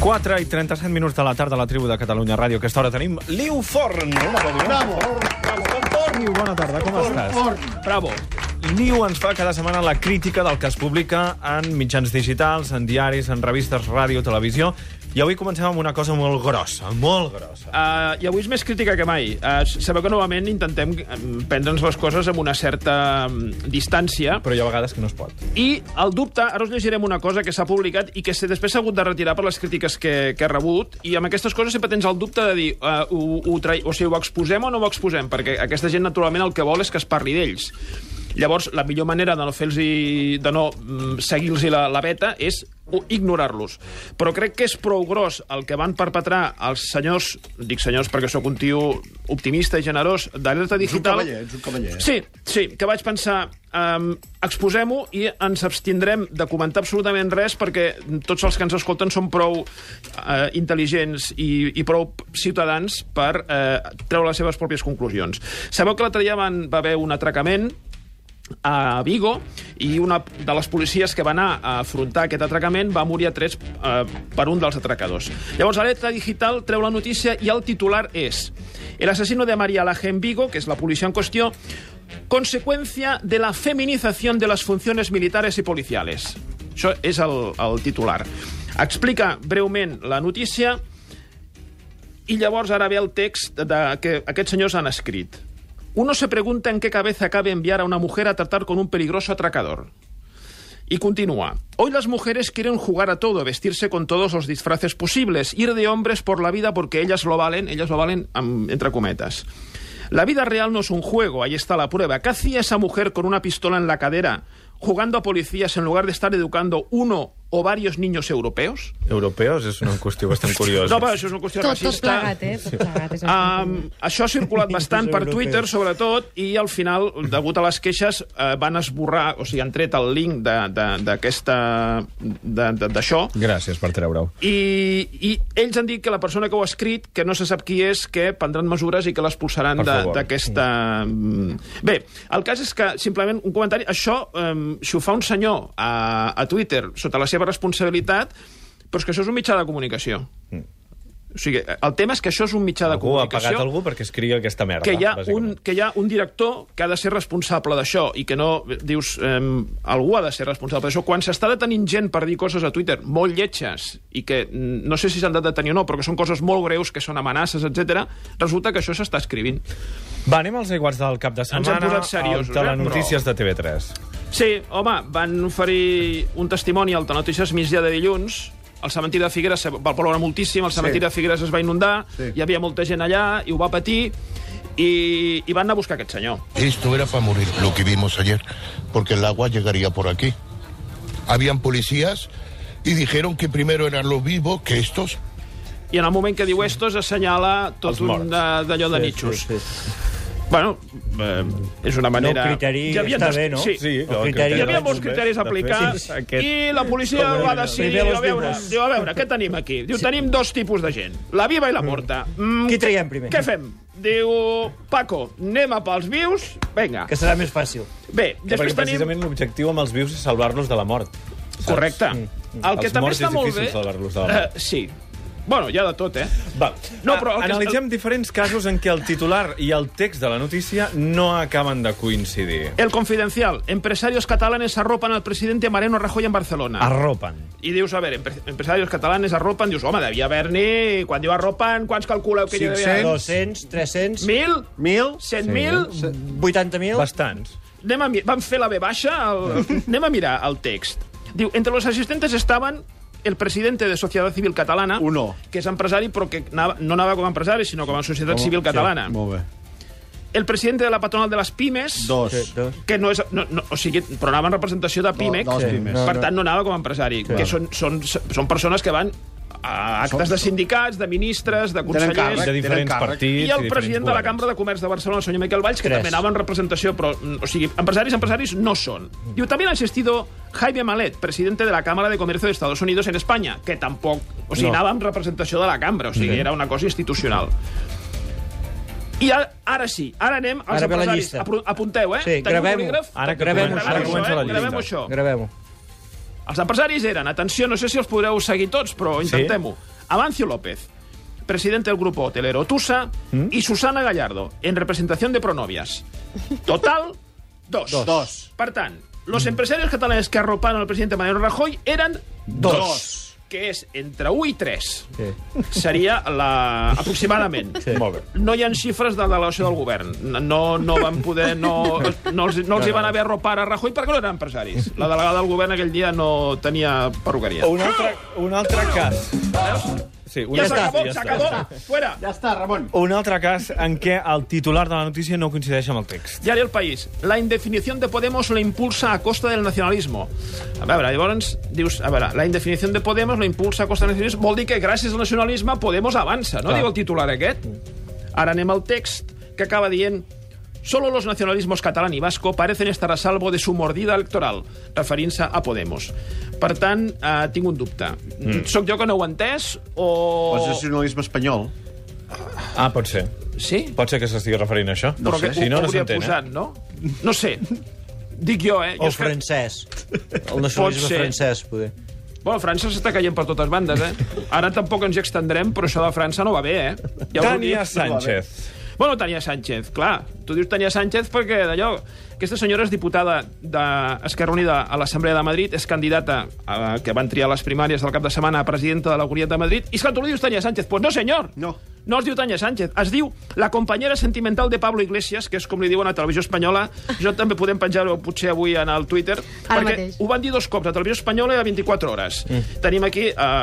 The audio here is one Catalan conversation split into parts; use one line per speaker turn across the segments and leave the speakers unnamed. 4 i 37 minuts de la tarda a la tribu de Catalunya Ràdio. A aquesta hora tenim Liu Forn. Hola, Liu.
Bravo.
Forn, Liu, bona tarda, com estàs? Bravo. Liu ens fa cada setmana la crítica del que es publica en mitjans digitals, en diaris, en revistes, ràdio, televisió... I avui comencem amb una cosa molt grossa, molt grossa.
Uh, I avui és més crítica que mai. Uh, sabeu que novament intentem mm, prendre'ns les coses amb una certa mm, distància,
Però hi ha vegades que no es pot.
i el dubte, ara us llegirem una cosa que s'ha publicat i que s'ha- després s'ha hagut de retirar per les crítiques que, que ha rebut, i amb aquestes coses sempre tens el dubte de dir uh, ho, ho, trai, o sigui, ho exposem o no ho exposem, perquè aquesta gent naturalment el que vol és que es parli d'ells. Llavors, la millor manera de no fer de no mm, seguir-los la, la beta és o ignorar-los. Però crec que és prou gros el que van perpetrar els senyors, dic senyors perquè sóc un tio optimista i generós, d'alerta digital...
cavaller, ets un cavaller.
Sí, sí, que vaig pensar... Um, Exposem-ho i ens abstindrem de comentar absolutament res perquè tots els que ens escolten són prou uh, intel·ligents i, i prou ciutadans per uh, treure les seves pròpies conclusions. Sabeu que l'altre dia van, va haver un atracament a Vigo i una de les policies que va anar a afrontar aquest atracament va morir a trets eh, per un dels atracadors. Llavors, Alerta Digital treu la notícia i el titular és El asesino de María Laje en Vigo, que es la policía en cuestión, consecuencia de la feminización de las funciones militares y policiales. Això és el, el titular. Explica breument la notícia Y llavors ara ve el text de, que aquests senyors han escrit. Uno se pregunta en qué cabeza cabe enviar a una mujer a tratar con un peligroso atracador. Y continúa. Hoy las mujeres quieren jugar a todo, vestirse con todos los disfraces posibles, ir de hombres por la vida porque ellas lo valen, ellas lo valen am, entre cometas. La vida real no es un juego, ahí está la prueba. ¿Qué hacía esa mujer con una pistola en la cadera, jugando a policías en lugar de estar educando uno o varios niños europeos?
Europeus és una qüestió bastant curiosa.
No, però això és una qüestió
Tot, tot
racista.
plegat, eh? Tot plegat. És
Um, això ha circulat bastant per Twitter, sobretot, i al final, degut a les queixes, eh, van esborrar, o sigui, han tret el link de- de- d'aquesta... de- de- d'això,
Gràcies per treure-ho.
i, i ells han dit que la persona que ho ha escrit, que no se sap qui és, que prendran mesures i que l'expulsaran
Per
de-
favor.
d'aquesta... mm. Bé, el cas és que, simplement, un comentari... Això, um, si ho fa un senyor a, a Twitter, sota la seva responsabilitat, però és que això és un mitjà de comunicació. O sigui, el tema és que això és un mitjà de
Mm. Algú ha
comunicació
pagat algú perquè escrigui aquesta merda,
que hi, ha un,
bàsicament.
que hi ha un director que ha de ser responsable d'això i que no, dius, eh, algú ha de ser responsable d'això. Quan s'està detenint gent per dir coses a Twitter molt lletges i que mm, no sé si s'han de detenir o no, però que són coses molt greus, que són amenaces, etc. resulta que això s'està escrivint.
Va, anem als aiguats del cap de
han
setmana.
posat seriosos,
al
eh,
Telenotícies de TV3.
Sí, home, van oferir un testimoni al Telenotícies migdia de dilluns, el cementiri de Figueres se va ploure moltíssim, el cementiri sí. de Figueres es va inundar, sí. hi havia molta gent allà i ho va patir, i, i van anar a buscar aquest senyor.
Esto era para morir, lo que vimos ayer, porque el agua llegaría por aquí. Habían policías y dijeron que primero eran los vivos que estos.
I en el moment que diu estos assenyala tot
Els morts.
un de- d'allò de, de nitxos. Sí, sí, sí. Bueno, eh, és una
No,
manera...
criteri
Hi havia
està
des-
bé, no?
Sí,
Sí,
El
clar,
criteri
hi havia
de
molts
fet,
criteris a aplicar
sí, sí, aquest-
i la policia
Com
va
era?
decidir,
Primer
diu,
los
a veure,
vivos.
diu, a veure, què tenim aquí? Diu, tenim dos tipus de gent, la viva i la morta. Mm,
Qui traiem primer?
Què fem? Diu, Paco, anem a pels vius, vinga.
Que serà més fàcil.
Bé,
Perquè
després tenim...
precisament l'objectiu amb els vius és salvar-los de la mort. Saps?
Correcte. El que
Els
també
morts
està
és
molt
difícil
bé...
salvar-los de la mort.
Eh, sí. Bueno, hi ha de tot, eh?
Va,
No, però el que-
analitzem diferents casos en què el titular i el text de la notícia no acaben de coincidir.
El Confidencial. Empresarios catalanes arropan al presidente Mariano Rajoy en Barcelona.
Arropen.
I dius, a veure, empre- empresarios catalanes arropen, dius, home, devia haver-n'hi... Quan diu arropen, quants calculeu que hi devia haver?
500?
200, 300,
Mil?
Mil?
Cent mil?
80.000...
Bastants.
Anem a mi- Van fer la B baixa? El... Anem a mirar el text. Diu, entre los asistentes estaban el presidente de Sociedad Civil Catalana,
Uno.
que és empresari, però que anava, no anava com a empresari, sinó com a societat civil catalana.
Molt bé.
El presidente de la patronal de les pimes,
Dos.
Sí, dos.
que no és... No, no, o sigui, però anava en representació de Pimec,
dels pimes.
per tant no anava com a empresari, que són, són, són persones que van a actes de sindicats, de ministres, de
Tenen
consellers...
càrrec,
De
tenen
diferents
càrrec.
partits
I el president de la Cambra de Comerç de Barcelona, el senyor Miquel Valls, que
Tres.
també anava en representació, però, mm, o sigui, empresaris, empresaris no són. Diu, també ha asistido Jaime Malet, presidente de la Cámara de Comercio de Estados Unidos en España, que tampoc... O sigui,
No.
no. anava en representació de la cambra, o sigui, era una cosa institucional. I ara, ara sí, ara anem als
Ara ve la
empresaris.
llista.
Apu- Apunteu, eh?
Sí,
Teniu un
gravem-ho.
bolígraf?
Ara que
Gravem
comença,
això.
ara comença la
eh? Gravem
llista.
això.
Gravem-ho.
Els empresaris eren, atenció, no sé si els podreu seguir tots, però intentem-ho. Avancio López, presidente del grupo hotelero Tusa, y Susana Gallardo, en representación de Pronovias. Total, dos.
Dos. Dos.
Per tant, los empresarios catalanes que arroparon al presidente Mariano Rajoy eran dos.
Dos.
Que és entre 1 i 3.
Sí.
Seria la... aproximadament. Sí.
Molt bé.
No hi ha xifres de la delegació del govern. No, no van poder... No, no, els, no els hi van haver arropar a Rajoy perquè no eren empresaris. La delegada del govern aquell dia no tenia perruqueria.
Un altre, un altre cas. Sí, un
Ja,
altre-
s'acabó,
ja està.
s'acabó. Fuera.
Ja està, Ramon.
Un altre cas en què el titular de la notícia no coincideix amb el text.
Diari El País. La indefinición de Podemos la impulsa a costa del nacionalismo. A veure, llavors dius... A veure, la indefinició de Podemos la impulsa a costa del nacionalisme vol dir que gràcies al nacionalisme Podemos avança, no?
Clar.
Diu el titular aquest. Ara anem al text que acaba dient... Solo los nacionalismos catalán y vasco parecen estar a salvo de su mordida electoral, referint-se a Podemos. Per tant, eh, tinc un dubte. Mm. Soc jo que no ho he entès o...
O és nacionalisme espanyol.
Ah, pot ser.
Sí?
Pot ser que s'estigui referint a això?
Però que
si no,
ho, ho
no
hauria
s'entén, eh?
posat, no? No sé. Dic jo, eh? Jo
O
és que-
francès. El nacionalisme
ser.
francès, poder.
Bueno, França s'està caient per totes bandes, eh? Ara tampoc ens hi extendrem, però això de França no va bé, eh? Ja us ho
Tània
dic.
Sánchez.
Bueno, Tania Sánchez, clar. Tu dius Tania Sánchez perquè d'allò... Aquesta senyora és diputada d'Esquerra Unida a l'Assemblea de Madrid, és candidata a, que van triar les primàries del cap de setmana a presidenta de la Comunitat de Madrid, i és que tu li dius Tania Sánchez. Pues no, senyor!
No.
No es diu Tania Sánchez, es diu la companyera sentimental de Pablo Iglesias, que és com li diuen a Televisió Espanyola. Jo també podem penjar-ho potser avui en el Twitter,
Ara
perquè
mateix.
ho van dir dos cops a Televisió Espanyola i a 24 hores.
Mm.
Tenim aquí eh,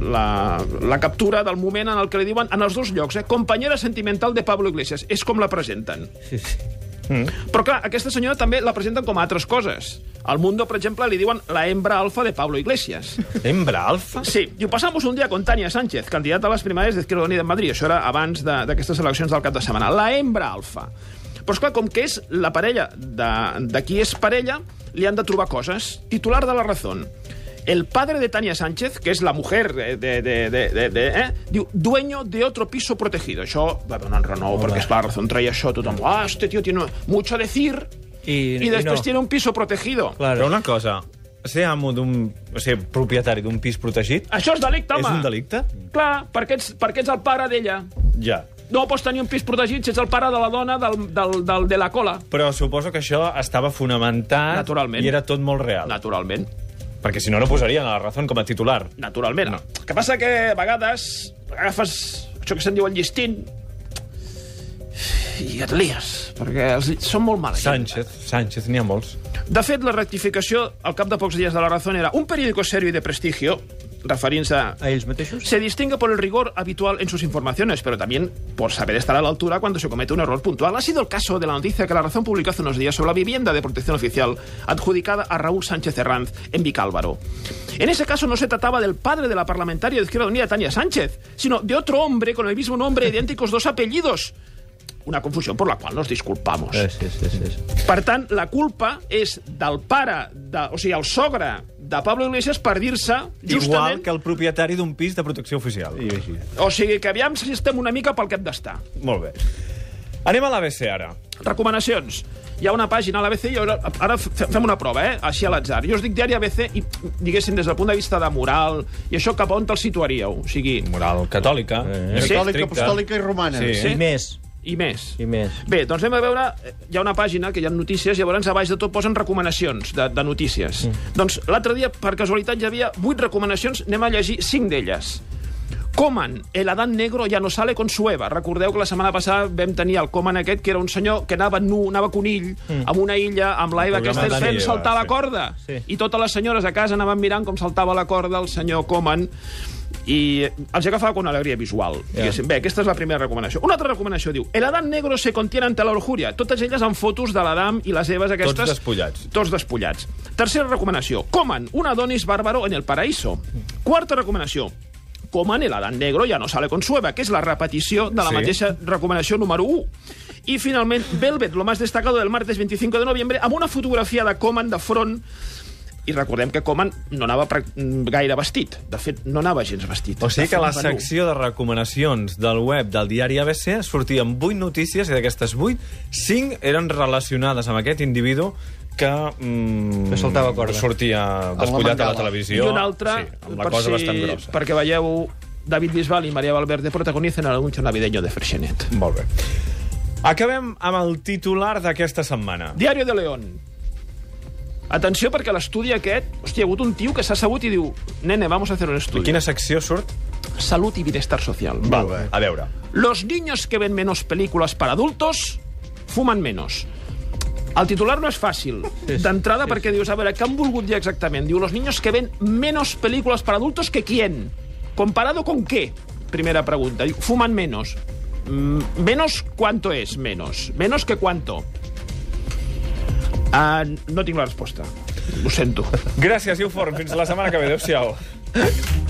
la, la captura del moment en el que li diuen, en els dos llocs, eh, companyera sentimental de Pablo Iglesias. És com la presenten. Mm.
Sí, sí.
Però clar, aquesta senyora també la presenten com a altres coses. Al Mundo, per exemple, li diuen la hembra alfa de Pablo Iglesias.
Hembra alfa?
Sí, diu, pasamos un día con Tania Sánchez, candidata a les primàries d'Izquierda Unida en Madrid. Això era abans de- d'aquestes eleccions del cap de setmana. La hembra alfa. Però, esclar, com que és la parella de, de qui és parella, li han de trobar coses. Titular de la Razón. El padre de Tania Sánchez, que és la mujer de... de, de, de, de, de eh? Diu, dueño de otro piso protegido. Això va donar un renou, perquè, esclar, la Razón traia això. Tothom, ah, este tío tiene mucho a decir...
I-
y
i
després
no.
tiene un piso protegido.
Claro.
Però una cosa, ser amo d'un... O sigui, propietari d'un pis protegit
Això és delicte, home.
és un delicte?
Mm. Clar, perquè ets, perquè ets el pare d'ella.
Ja.
No pots tenir un pis protegit si ets el pare de la dona del, del, del, de la cola.
Però suposo que això estava fonamentat
Naturalment.
i era tot molt real.
Naturalment.
Perquè si no, no posarien a la raó com a titular.
Naturalment. No. que passa que a vegades agafes això que se'n diu el llistint i et lies, perquè els lli- són molt mala gent.
Sánchez, Sánchez, n'hi ha molts.
De fet, la rectificació al cap de pocs dies de la Razón era un periódico serio y de prestigio, referint-se a
A ells mateixos?
se distingue por el rigor habitual en sus informaciones, pero también por saber estar a la altura cuando se comete un error puntual. Ha sido el caso de la noticia que La Razón publicó hace unos días sobre la vivienda de protección oficial adjudicada a Raúl Sánchez Herranz en Vicálvaro. En ese caso no se trataba del padre de la parlamentaria de Izquierda Unida, Tania Sánchez, sino de otro hombre con el mismo nombre e idénticos dos apellidos. Una confusión por la cual nos disculpamos.
Eh, sí, sí, sí. sí.
Per tant, la culpa és del pare, de, o sigui, el sogre de Pablo Iglesias per dir-se justament...
Igual que el propietari d'un pis de protecció oficial.
I així.
O sigui que aviam si estem una mica pel que hem d'estar.
Molt bé. Anem a l'ABC, ara.
Recomanacions. Hi ha una pàgina a l'ABC i ara, ara fe- fem una prova, eh? Així a l'atzar. Jo us dic diari ABC i, diguéssim, des del punt de vista de moral i això cap on te'l situaríeu. O sigui,
Moral catòlica. Eh,
Sí.
Catòlica,
estricta.
apostòlica i romana.
Sí.
I més.
i més.
I més.
Bé, doncs anem a veure... eh, Hi ha una pàgina que hi ha notícies, llavors a baix de tot posen recomanacions de, de notícies. Mm. Doncs l'altre dia, per casualitat, hi havia vuit recomanacions, anem a llegir cinc d'elles. Coman, el Adán negro ya no sale con su Eva. Recordeu que la setmana passada vam tenir el Coman aquest, que era un senyor que anava nu, anava conill, mm. amb una illa, amb la Eva
programa
aquesta,
Adán i
fent
Eva,
saltar la
sí.
corda.
Sí.
I totes les senyores a casa anaven mirant com saltava la corda el senyor Coman i els agafava con alegria visual. Yeah. Bé, aquesta és la primera recomanació. Una altra recomanació diu El Adam negro se contiene ante la lujuria. Totes elles amb fotos de l'Adam i les Eves aquestes...
despullats.
Tots despullats. Tercera recomanació. Coman, un Adonis bárbaro en el paraíso. Quarta recomanació. Coman, el Adán negro ja no sale con su Eva, que és la repetició de
Sí.
la sí. mateixa recomanació número 1. I, finalment, Velvet, lo más destacado del martes 25 de noviembre, amb una fotografia de Coman de front i recordem que Coman no anava prac- gaire vestit. De fet, no anava gens vestit.
O sigui que a la
De front,
secció de recomanacions del web del diari ABC sortien 8 notícies i d'aquestes 8, 5 eren relacionades amb aquest individu que... Mm,
Que saltava corda.
Sortia despullat a la
mandala.
televisió.
I una altra,
Sí, amb la cosa
si,
bastant grossa.
perquè veieu David Bisbal y María Valverde protagonizan el anuncio navideño de Freixenet.
Molt bé. Acabem amb el titular d'aquesta setmana.
Diario de León. Atenció, perquè l'estudi aquest... Hòstia, hi ha hagut un tio que s'ha assegut i diu nene, vamos a hacer un
De
estudi.
quina secció surt?
Salud y bienestar social.
Val, a veure.
Los niños que ven menos películas para adultos fuman menos. El titular no és fàcil, d'entrada perquè dius, a veure, què han volgut dir exactament? Diu, los niños que ven menos películas para adultos que quién? Comparado con qué? Primera pregunta. Diu, fuman menos. Mm, menos cuánto es menos? Menos que cuánto? Ah, no tinc la resposta. Ho sento.
Gràcies, Iuforn. Fins la setmana que ve. Adéu-siau.